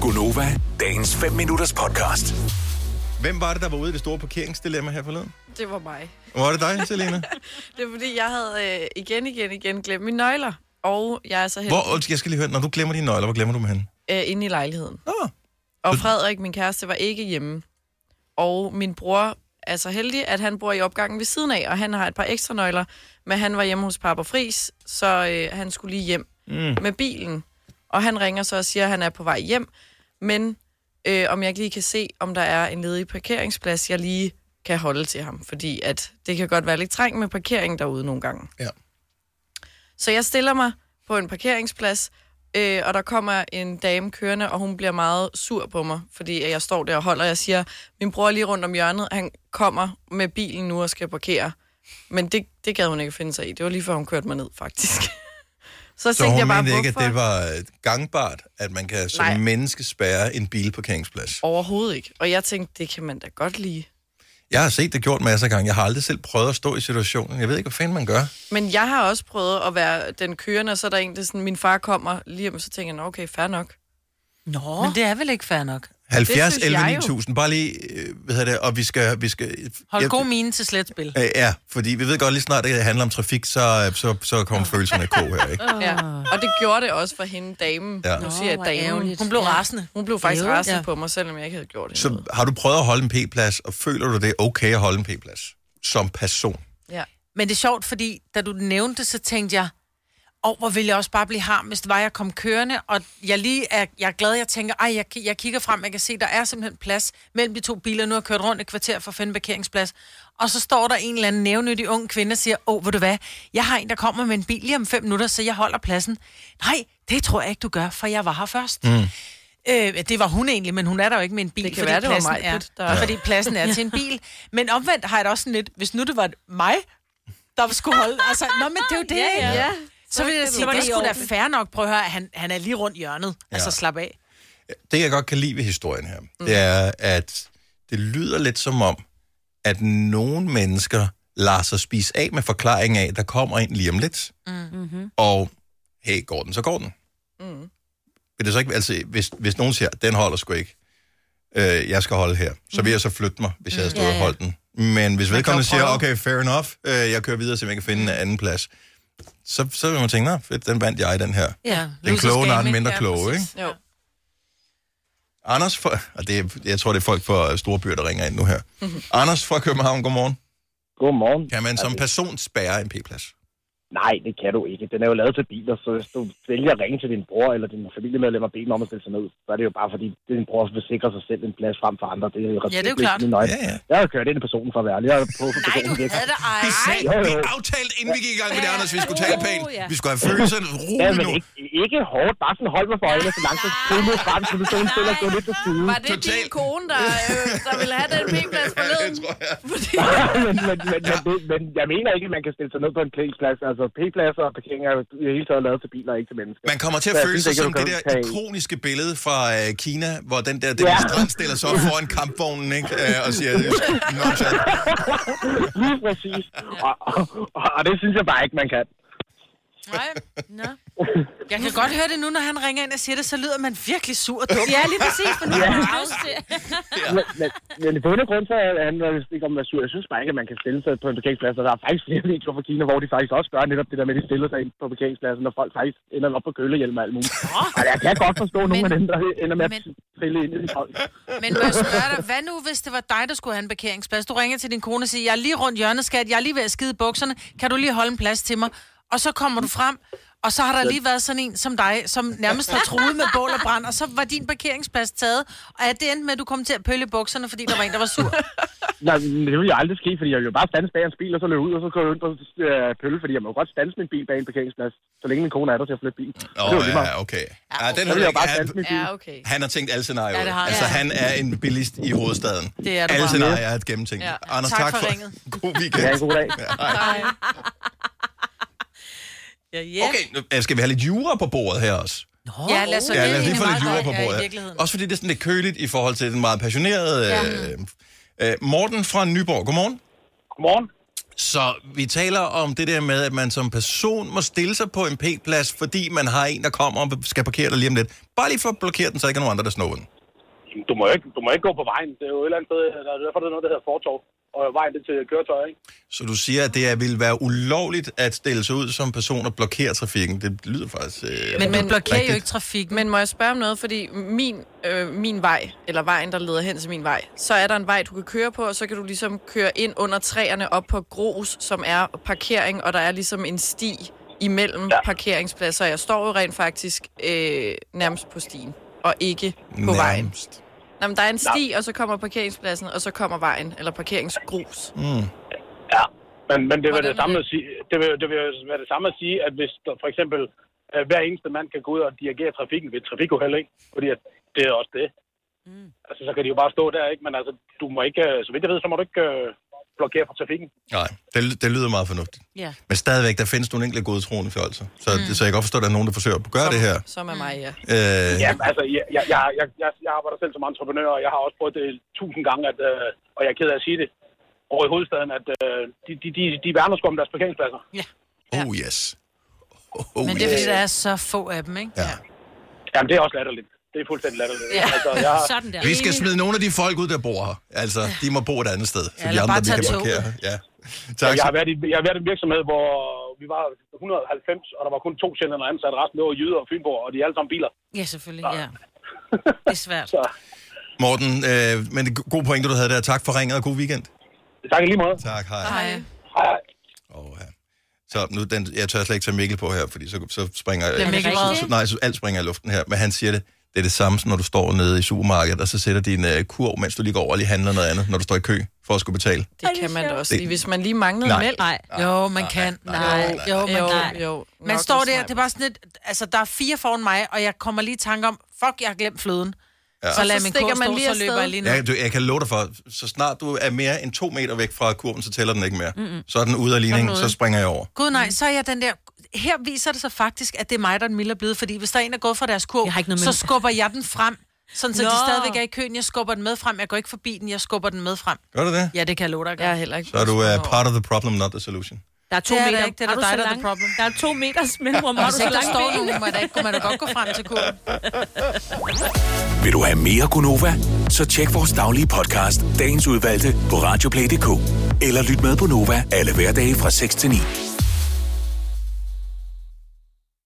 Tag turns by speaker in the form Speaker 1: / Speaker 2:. Speaker 1: Gunova, dagens 5 minutters podcast.
Speaker 2: Hvem var det, der var ude i det store parkeringsdilemma her forleden?
Speaker 3: Det var mig.
Speaker 2: Var det dig, Selena?
Speaker 3: Det er fordi, jeg havde øh, igen, igen, igen glemt mine nøgler. Og jeg er så helt
Speaker 2: Hvor, jeg skal lige høre, når du glemmer dine nøgler, hvor glemmer du dem hen?
Speaker 3: øh, inde i lejligheden.
Speaker 2: Nå,
Speaker 3: Og Frederik, min kæreste, var ikke hjemme. Og min bror er så heldig, at han bor i opgangen ved siden af, og han har et par ekstra nøgler. Men han var hjemme hos Papa Fris, så øh, han skulle lige hjem mm. med bilen. Og han ringer så og siger, at han er på vej hjem. Men øh, om jeg ikke lige kan se, om der er en ledig parkeringsplads, jeg lige kan holde til ham. Fordi at det kan godt være lidt trængt med parkering derude nogle gange.
Speaker 2: ja.
Speaker 3: Så jeg stiller mig på en parkeringsplads, øh, og der kommer en dame kørende, og hun bliver meget sur på mig, fordi at jeg står der og holder, og jeg siger, min bror er lige rundt om hjørnet, han kommer med bilen nu og skal parkere. Men det, det gad hun ikke finde sig i. Det var lige før, hun kørte mig ned, faktisk. så,
Speaker 2: Så
Speaker 3: tænkte
Speaker 2: hun
Speaker 3: jeg bare,
Speaker 2: mente ikke, at
Speaker 3: hvorfor?
Speaker 2: det var øh, gangbart, at man kan som
Speaker 3: Nej.
Speaker 2: menneske spærre en bilparkeringsplads.
Speaker 3: Overhovedet ikke. Og jeg tænkte, det kan man da godt lide.
Speaker 2: Jeg har set det gjort masser af gange. Jeg har aldrig selv prøvet at stå i situationen. Jeg ved ikke, hvad fanden man gør.
Speaker 3: Men jeg har også prøvet at være den kørende, og så er der en, der sådan, min far kommer lige om, så tænker jeg, "Nå, okay, fair nok.
Speaker 4: Nå. Men det er vel ikke fair nok.
Speaker 2: 70,
Speaker 3: synes
Speaker 2: 11,
Speaker 3: jeg jo.
Speaker 2: 9000. Bare lige, øh, hvad hedder det, og vi skal... Vi skal
Speaker 4: Hold
Speaker 2: jeg-
Speaker 4: god mine til sletspil.
Speaker 2: Øh, Ja, fordi vi ved godt, lige snart det handler om trafik, så, øh, så, så kommer følelserne i kog her, ikke?
Speaker 3: Ja. Og det gjorde det også for hende, damen.
Speaker 2: Ja.
Speaker 3: Ja. Nu siger jeg
Speaker 5: Ah. Nå, hvor
Speaker 3: damen.
Speaker 5: ærgerligt.
Speaker 4: Hun blev rasende.
Speaker 3: Hun blev faktisk
Speaker 5: Ærgerligt,
Speaker 3: rasende
Speaker 5: ja.
Speaker 3: på mig, selvom jeg ikke havde gjort det.
Speaker 2: Så har du prøvet at holde en p-plads, og føler du det er okay at holde en p-plads som person?
Speaker 3: Ja.
Speaker 4: Men det er sjovt, fordi da du nævnte det, så tænkte jeg, og hvor ville jeg også bare blive harm, hvis det var, jeg kom kørende, og jeg lige er, jeg er glad, jeg tænker, ej, jeg, ki- jeg kigger frem, jeg kan se, der er simpelthen plads mellem de to biler, nu har jeg kørt rundt et kvarter for at finde en parkeringsplads, og så står der en eller anden nævnyttig ung kvinde og siger, åh, oh, ved du hvad, jeg har en, der kommer med en bil lige om fem minutter, så jeg holder pladsen. Nej, det tror jeg ikke, du gør, for jeg var her først. Mm. Øh, det var hun egentlig, men hun er der jo ikke med en bil,
Speaker 3: Det kan
Speaker 4: fordi
Speaker 3: være, det var
Speaker 4: pladsen
Speaker 3: mig,
Speaker 4: er,
Speaker 3: Britt, der-
Speaker 4: fordi pladsen er til en bil. Men omvendt har jeg det også sådan lidt, hvis nu det var mig, der skulle holde... Altså, nå, men det er jo det. Ja, ja. Så vil jeg sige, det,
Speaker 5: det
Speaker 4: det
Speaker 5: i
Speaker 4: skulle da
Speaker 5: orden.
Speaker 4: fair nok. Prøv at høre, han, han er lige rundt hjørnet. Ja. Altså, slap af.
Speaker 2: Det, jeg godt kan lide ved historien her, mm. det er, at det lyder lidt som om, at nogle mennesker lader sig spise af med forklaringen af, der kommer en lige om lidt,
Speaker 5: Mm-hmm.
Speaker 2: mm. og hey, går den, så går den. Mm. Vil det så ikke, altså, hvis, hvis nogen siger, den holder sgu ikke, øh, jeg skal holde her, så vil jeg så flytte mig, hvis jeg havde stået
Speaker 5: Mm. Ja,
Speaker 2: og
Speaker 5: ja.
Speaker 2: holdt den. Men hvis vedkommende siger,
Speaker 4: prøve.
Speaker 2: okay, fair enough, øh, jeg kører videre, så jeg kan finde en anden plads, så, så vil man tænke, nå, fedt, den vandt jeg, den her.
Speaker 4: Ja.
Speaker 2: Den
Speaker 4: Losers
Speaker 2: kloge,
Speaker 4: game,
Speaker 2: når den
Speaker 4: ikke?
Speaker 2: mindre
Speaker 4: Ja,
Speaker 2: kloge, ikke?
Speaker 4: præcis.
Speaker 3: Jo.
Speaker 2: Anders fra, og det, er- jeg tror, det er folk fra store byer, der ringer ind nu her.
Speaker 6: Mhm.
Speaker 2: Anders fra København, godmorgen.
Speaker 6: Godmorgen. Altså,
Speaker 2: Kan man som person spærre en p-plads?
Speaker 6: Nej, det kan du ikke. Den er jo lavet til biler, så hvis du vælger at ringe til din bror eller din familiemedlem og bede dem om at stille sig ned, så er det jo bare fordi, det din bror vil sikre sig selv en plads frem for andre. Det er jo,
Speaker 4: det er jo
Speaker 6: respektløst
Speaker 4: klart.
Speaker 6: i mine øjne.
Speaker 2: Ja, ja.
Speaker 6: Jeg har jo kørt ind i personen for at være ærlig. Jeg er på for
Speaker 4: Nej,
Speaker 6: personen
Speaker 4: du havde det, ej.
Speaker 2: Vi, sagde,
Speaker 6: jo, jo.
Speaker 2: vi aftalte, inden vi gik i gang med det, Anders, vi skulle tale
Speaker 5: Jo,
Speaker 2: pænt.
Speaker 5: ja.
Speaker 2: Vi skulle have følelserne
Speaker 6: Ja,
Speaker 2: roligt
Speaker 6: men
Speaker 2: nu.
Speaker 6: ikke, ikke hårdt. Bare sådan hold mig for øjnene, så langt du kunne mod frem, så du sådan stille og gå lidt til siden.
Speaker 3: Var det
Speaker 2: Total.
Speaker 3: din kone, der, øh, der ville have den
Speaker 2: Ja,
Speaker 3: p-plads
Speaker 2: det
Speaker 3: forleden?
Speaker 2: tror jeg.
Speaker 3: Fordi...
Speaker 6: men, men, men, men, det- men, jeg mener ikke, at man kan stille sig ned på en p-plads. Altså, p-pladser og parkering er jo i det hele taget lavet til biler, ikke til mennesker.
Speaker 2: Man kommer til at
Speaker 6: Så jeg
Speaker 2: føle
Speaker 6: synes
Speaker 2: sig som
Speaker 6: ikke, du
Speaker 2: det
Speaker 6: kan
Speaker 2: der
Speaker 6: tage-
Speaker 2: ikoniske billede fra øh, Kina, hvor den der demonstrant stiller sig op foran kampvognen, ikke? Øh, og siger, "Nå, tak."
Speaker 6: Lige præcis. Og, og, og, og det synes jeg bare ikke, man kan.
Speaker 4: Nej. Nå. Jeg kan godt høre det nu, når han ringer ind og siger det, så lyder man virkelig sur og dum.
Speaker 5: Ja, lige præcis, for nu har du lyst til.
Speaker 6: Men, men, men i bund og grund, så handler det ikke om at være sur. Jeg synes bare ikke, at man kan stille sig på en parkeringsplads, og der er faktisk flere videoer fra Kina, hvor de faktisk også gør netop det der med, at de stiller sig ind på parkeringspladsen, og folk faktisk ender op på kølehjelm og alt muligt. Og jeg kan godt forstå nogle af dem, der ender med at
Speaker 4: men-
Speaker 6: trille ind i de folk.
Speaker 4: Men må jeg spørge dig, hvad nu, hvis det var dig, der skulle have en parkeringsplads? Du ringer til din kone og siger, jeg er lige rundt hjørnet, skat, jeg er lige ved at skide i bukserne, kan du lige holde en plads til mig? Og så kommer du frem, og så har der lige været sådan en som dig, som nærmest har truet med bål og brand, og så var din parkeringsplads taget, og er det endte med, at du kom til at pølle i bukserne, fordi der var en, der var sur?
Speaker 6: Nej, men det ville jo aldrig ske, fordi jeg ville jo bare stands bag hans bil, og så løbe ud, og så gå ind på øh, pølle, fordi jeg må jo godt stands min bil bag en parkeringsplads, så længe min kone er der til at flytte bilen.
Speaker 2: Nå,
Speaker 6: det er jo lige meget.
Speaker 2: ja, okay. Ja, den
Speaker 6: Så
Speaker 2: har
Speaker 6: vil
Speaker 2: du
Speaker 6: jeg jo
Speaker 2: ikke.
Speaker 6: bare stands
Speaker 2: Han,
Speaker 6: min bil.
Speaker 3: Ja, okay.
Speaker 2: han har tænkt alle scenarier.
Speaker 4: Ja, det har jeg.
Speaker 2: altså, han er en bilist i hovedstaden.
Speaker 4: Det er du
Speaker 2: alle
Speaker 4: bare.
Speaker 2: scenarier er et gennemtænkt.
Speaker 3: Ja.
Speaker 2: Anders,
Speaker 4: Tak
Speaker 2: tak,
Speaker 4: for
Speaker 2: for...
Speaker 4: ringet.
Speaker 2: God weekend.
Speaker 6: Ja, god dag.
Speaker 4: Ja, yeah.
Speaker 2: Okay, nu øh, skal vi have lidt jura på bordet her også?
Speaker 4: Ja, lad os så
Speaker 2: Oh. Ja, lad os lige
Speaker 4: egentlig
Speaker 2: få lidt
Speaker 4: meget
Speaker 2: jura
Speaker 4: dig,
Speaker 2: på
Speaker 4: ja, i
Speaker 2: bordet her.
Speaker 4: virkeligheden.
Speaker 2: Også fordi det er sådan lidt køligt i forhold til den meget passionerede... Ja. Øh, øh, Morten fra Nyborg, godmorgen.
Speaker 6: Godmorgen.
Speaker 2: Så vi taler om det der med, at man som person må stille sig på en p-plads, fordi man har en, der kommer og skal parkere dig lige om lidt. Bare lige for at blokere den, så ikke er nogen andre, der snår den.
Speaker 6: Jamen, Du må, jo ikke, du må ikke gå på vejen. Det er jo et eller andet sted. Der er derfor, der er noget, der hedder fortov. Og vejen det er til køretøjer, ikke?
Speaker 2: Så du siger, at det er- ville være ulovligt at stille sig ud som person og blokere trafikken. Det lyder faktisk... Øh,
Speaker 4: Men man blokerer
Speaker 2: rigtigt.
Speaker 4: jo ikke trafikken.
Speaker 3: Men må jeg spørge om noget? Fordi min, øh, min vej, eller vejen, der leder hen til min vej, så er der en vej, du kan køre på, og så kan du ligesom køre ind under træerne op på grus, som er parkering, og der er ligesom en sti imellem ja.
Speaker 6: Ja.
Speaker 3: parkeringspladser. Jeg står jo rent faktisk øh, nærmest på stien, og ikke på nærmest. vejen.
Speaker 2: Nærmest.
Speaker 3: Nå, men der er en sti, og så kommer parkeringspladsen, og så kommer vejen, eller parkeringsgrus.
Speaker 6: Ja. Men, men det, vil
Speaker 3: Hvordan
Speaker 6: det,
Speaker 3: er
Speaker 6: samme
Speaker 3: det?
Speaker 6: at sige, det, vil, det vil jo være det samme at sige, at hvis der, for eksempel øh, hver eneste mand kan gå ud og dirigere trafikken ved et trafikuheld, ikke? Fordi at det er også det. Mm. Altså, så kan de jo bare stå der, ikke? Men altså, du må ikke, øh, så vidt jeg ved, så må du ikke øh, blokere for trafikken.
Speaker 2: Nej, det, det lyder meget fornuftigt.
Speaker 4: Ja.
Speaker 2: Men stadigvæk, der findes nogle enkelte gode troende fjolser. Så, mm. så jeg kan godt forstå, at der er nogen, der forsøger at gøre det her.
Speaker 3: Som er mig,
Speaker 4: Mm.
Speaker 3: ja.
Speaker 2: Øh,
Speaker 6: Ja, altså, jeg, jeg, jeg, jeg- jeg, jeg arbejder selv som entreprenør, og jeg har også prøvet det tusind gange, at, øh, og jeg er ked af at sige det, over i hovedstaden, at øh, de, de, de, de værner sgu om deres parkeringspladser.
Speaker 2: Oh yes. Oh,
Speaker 4: Men det er, fordi der er så få af dem, ikke?
Speaker 2: Ja.
Speaker 6: Jamen, det er også latterligt. Det er fuldstændig latterligt.
Speaker 4: Ja.
Speaker 6: Altså, jeg,
Speaker 5: Sådan der.
Speaker 2: Vi skal smide nogle af de folk ud, der bor her. Altså, de må bo et andet sted, så
Speaker 4: Ja,
Speaker 2: de
Speaker 4: eller
Speaker 2: andre,
Speaker 4: bare
Speaker 2: vi
Speaker 4: tage
Speaker 2: kan
Speaker 4: toget.
Speaker 2: parkere. Ja.
Speaker 6: jeg,
Speaker 2: Tak.
Speaker 6: jeg, har været i, jeg har været i en virksomhed, hvor vi var 190, og der var kun to sjældne ansat. Resten det var jyder og fynborg, og de er alle sammen biler.
Speaker 4: Ja, selvfølgelig, ja. Det er svært.
Speaker 6: Så
Speaker 2: Morten, øh, men det er god pointe, du havde der. Tak for ringet, og god weekend.
Speaker 6: tak i lige måde.
Speaker 2: Tak, hej.
Speaker 3: Hej.
Speaker 6: Hej, hej.
Speaker 2: Oh, ja. Så nu, den, jeg tør slet ikke tage Mikkel på her, fordi så, så springer...
Speaker 4: Bliver Mikkel
Speaker 2: så,
Speaker 4: vred?
Speaker 2: så, nej, så alt springer i luften her, men han siger det. Det er det samme, som når du står nede i supermarkedet, og så sætter din øh, kurv, mens du lige går over og lige handler noget andet, når du står i kø for at skulle betale.
Speaker 3: Det kan man da også
Speaker 2: Det-
Speaker 3: lige. Hvis man lige manglede
Speaker 2: Nej.
Speaker 3: mælk.
Speaker 5: Nej.
Speaker 4: Jo, man kan.
Speaker 2: nej,
Speaker 4: Nej,
Speaker 2: nej.
Speaker 4: jo, man
Speaker 3: Jo,
Speaker 4: kan.
Speaker 3: jo.
Speaker 4: Man
Speaker 3: Nok
Speaker 4: står
Speaker 3: lidt
Speaker 4: der,
Speaker 3: smart.
Speaker 4: det er bare sådan lidt, altså der er fire foran mig, og jeg kommer lige i tanke om, fuck, jeg har glemt fløden. Ja. Så
Speaker 3: Og
Speaker 4: lader
Speaker 3: så
Speaker 4: min
Speaker 3: stikker
Speaker 4: kår
Speaker 3: man
Speaker 4: stå,
Speaker 3: lige
Speaker 4: så
Speaker 3: afsted.
Speaker 4: løber jeg lige ned.
Speaker 2: Jeg, du, jeg kan love dig for, så snart du er mere end to meter væk fra kurven, så tæller den ikke mere. Mm-hmm. Så er den ude af ligningen, så springer jeg over.
Speaker 4: Gud nej, så er jeg den der... Her viser det sig faktisk, at det er mig, der er den milde blevet, fordi hvis der er en, der er gået fra deres kurv,
Speaker 5: Jeg har ikke noget
Speaker 4: så
Speaker 5: med-
Speaker 4: skubber jeg den frem, sådan så Nå.
Speaker 5: Nå.
Speaker 4: de stadigvæk er i køen. Jeg skubber den med frem, jeg går ikke forbi den, jeg skubber den med frem.
Speaker 2: Gør du det?
Speaker 4: Ja, det kan jeg love dig.
Speaker 3: Jeg er
Speaker 4: Ja.
Speaker 3: heller ikke.
Speaker 2: Så er du uh, part of the problem, not the solution.
Speaker 5: Der er to
Speaker 4: Det er der
Speaker 5: meter.
Speaker 4: ikke. Det er der
Speaker 5: du
Speaker 4: dig,
Speaker 5: så
Speaker 4: der er the
Speaker 5: lange-
Speaker 4: problem.
Speaker 5: Der er to meters mellemrum. Har du
Speaker 4: Hvis
Speaker 5: så
Speaker 4: ikke der
Speaker 5: langt
Speaker 4: står
Speaker 5: ben?
Speaker 4: nogen, må, der ikke, kunne man da godt gå frem til kurven.
Speaker 1: Vil du have mere Gunova? Så tjek vores daglige podcast, dagens udvalgte, på radioplay.dk. Eller lyt med på Nova alle hverdage fra 6 til 9.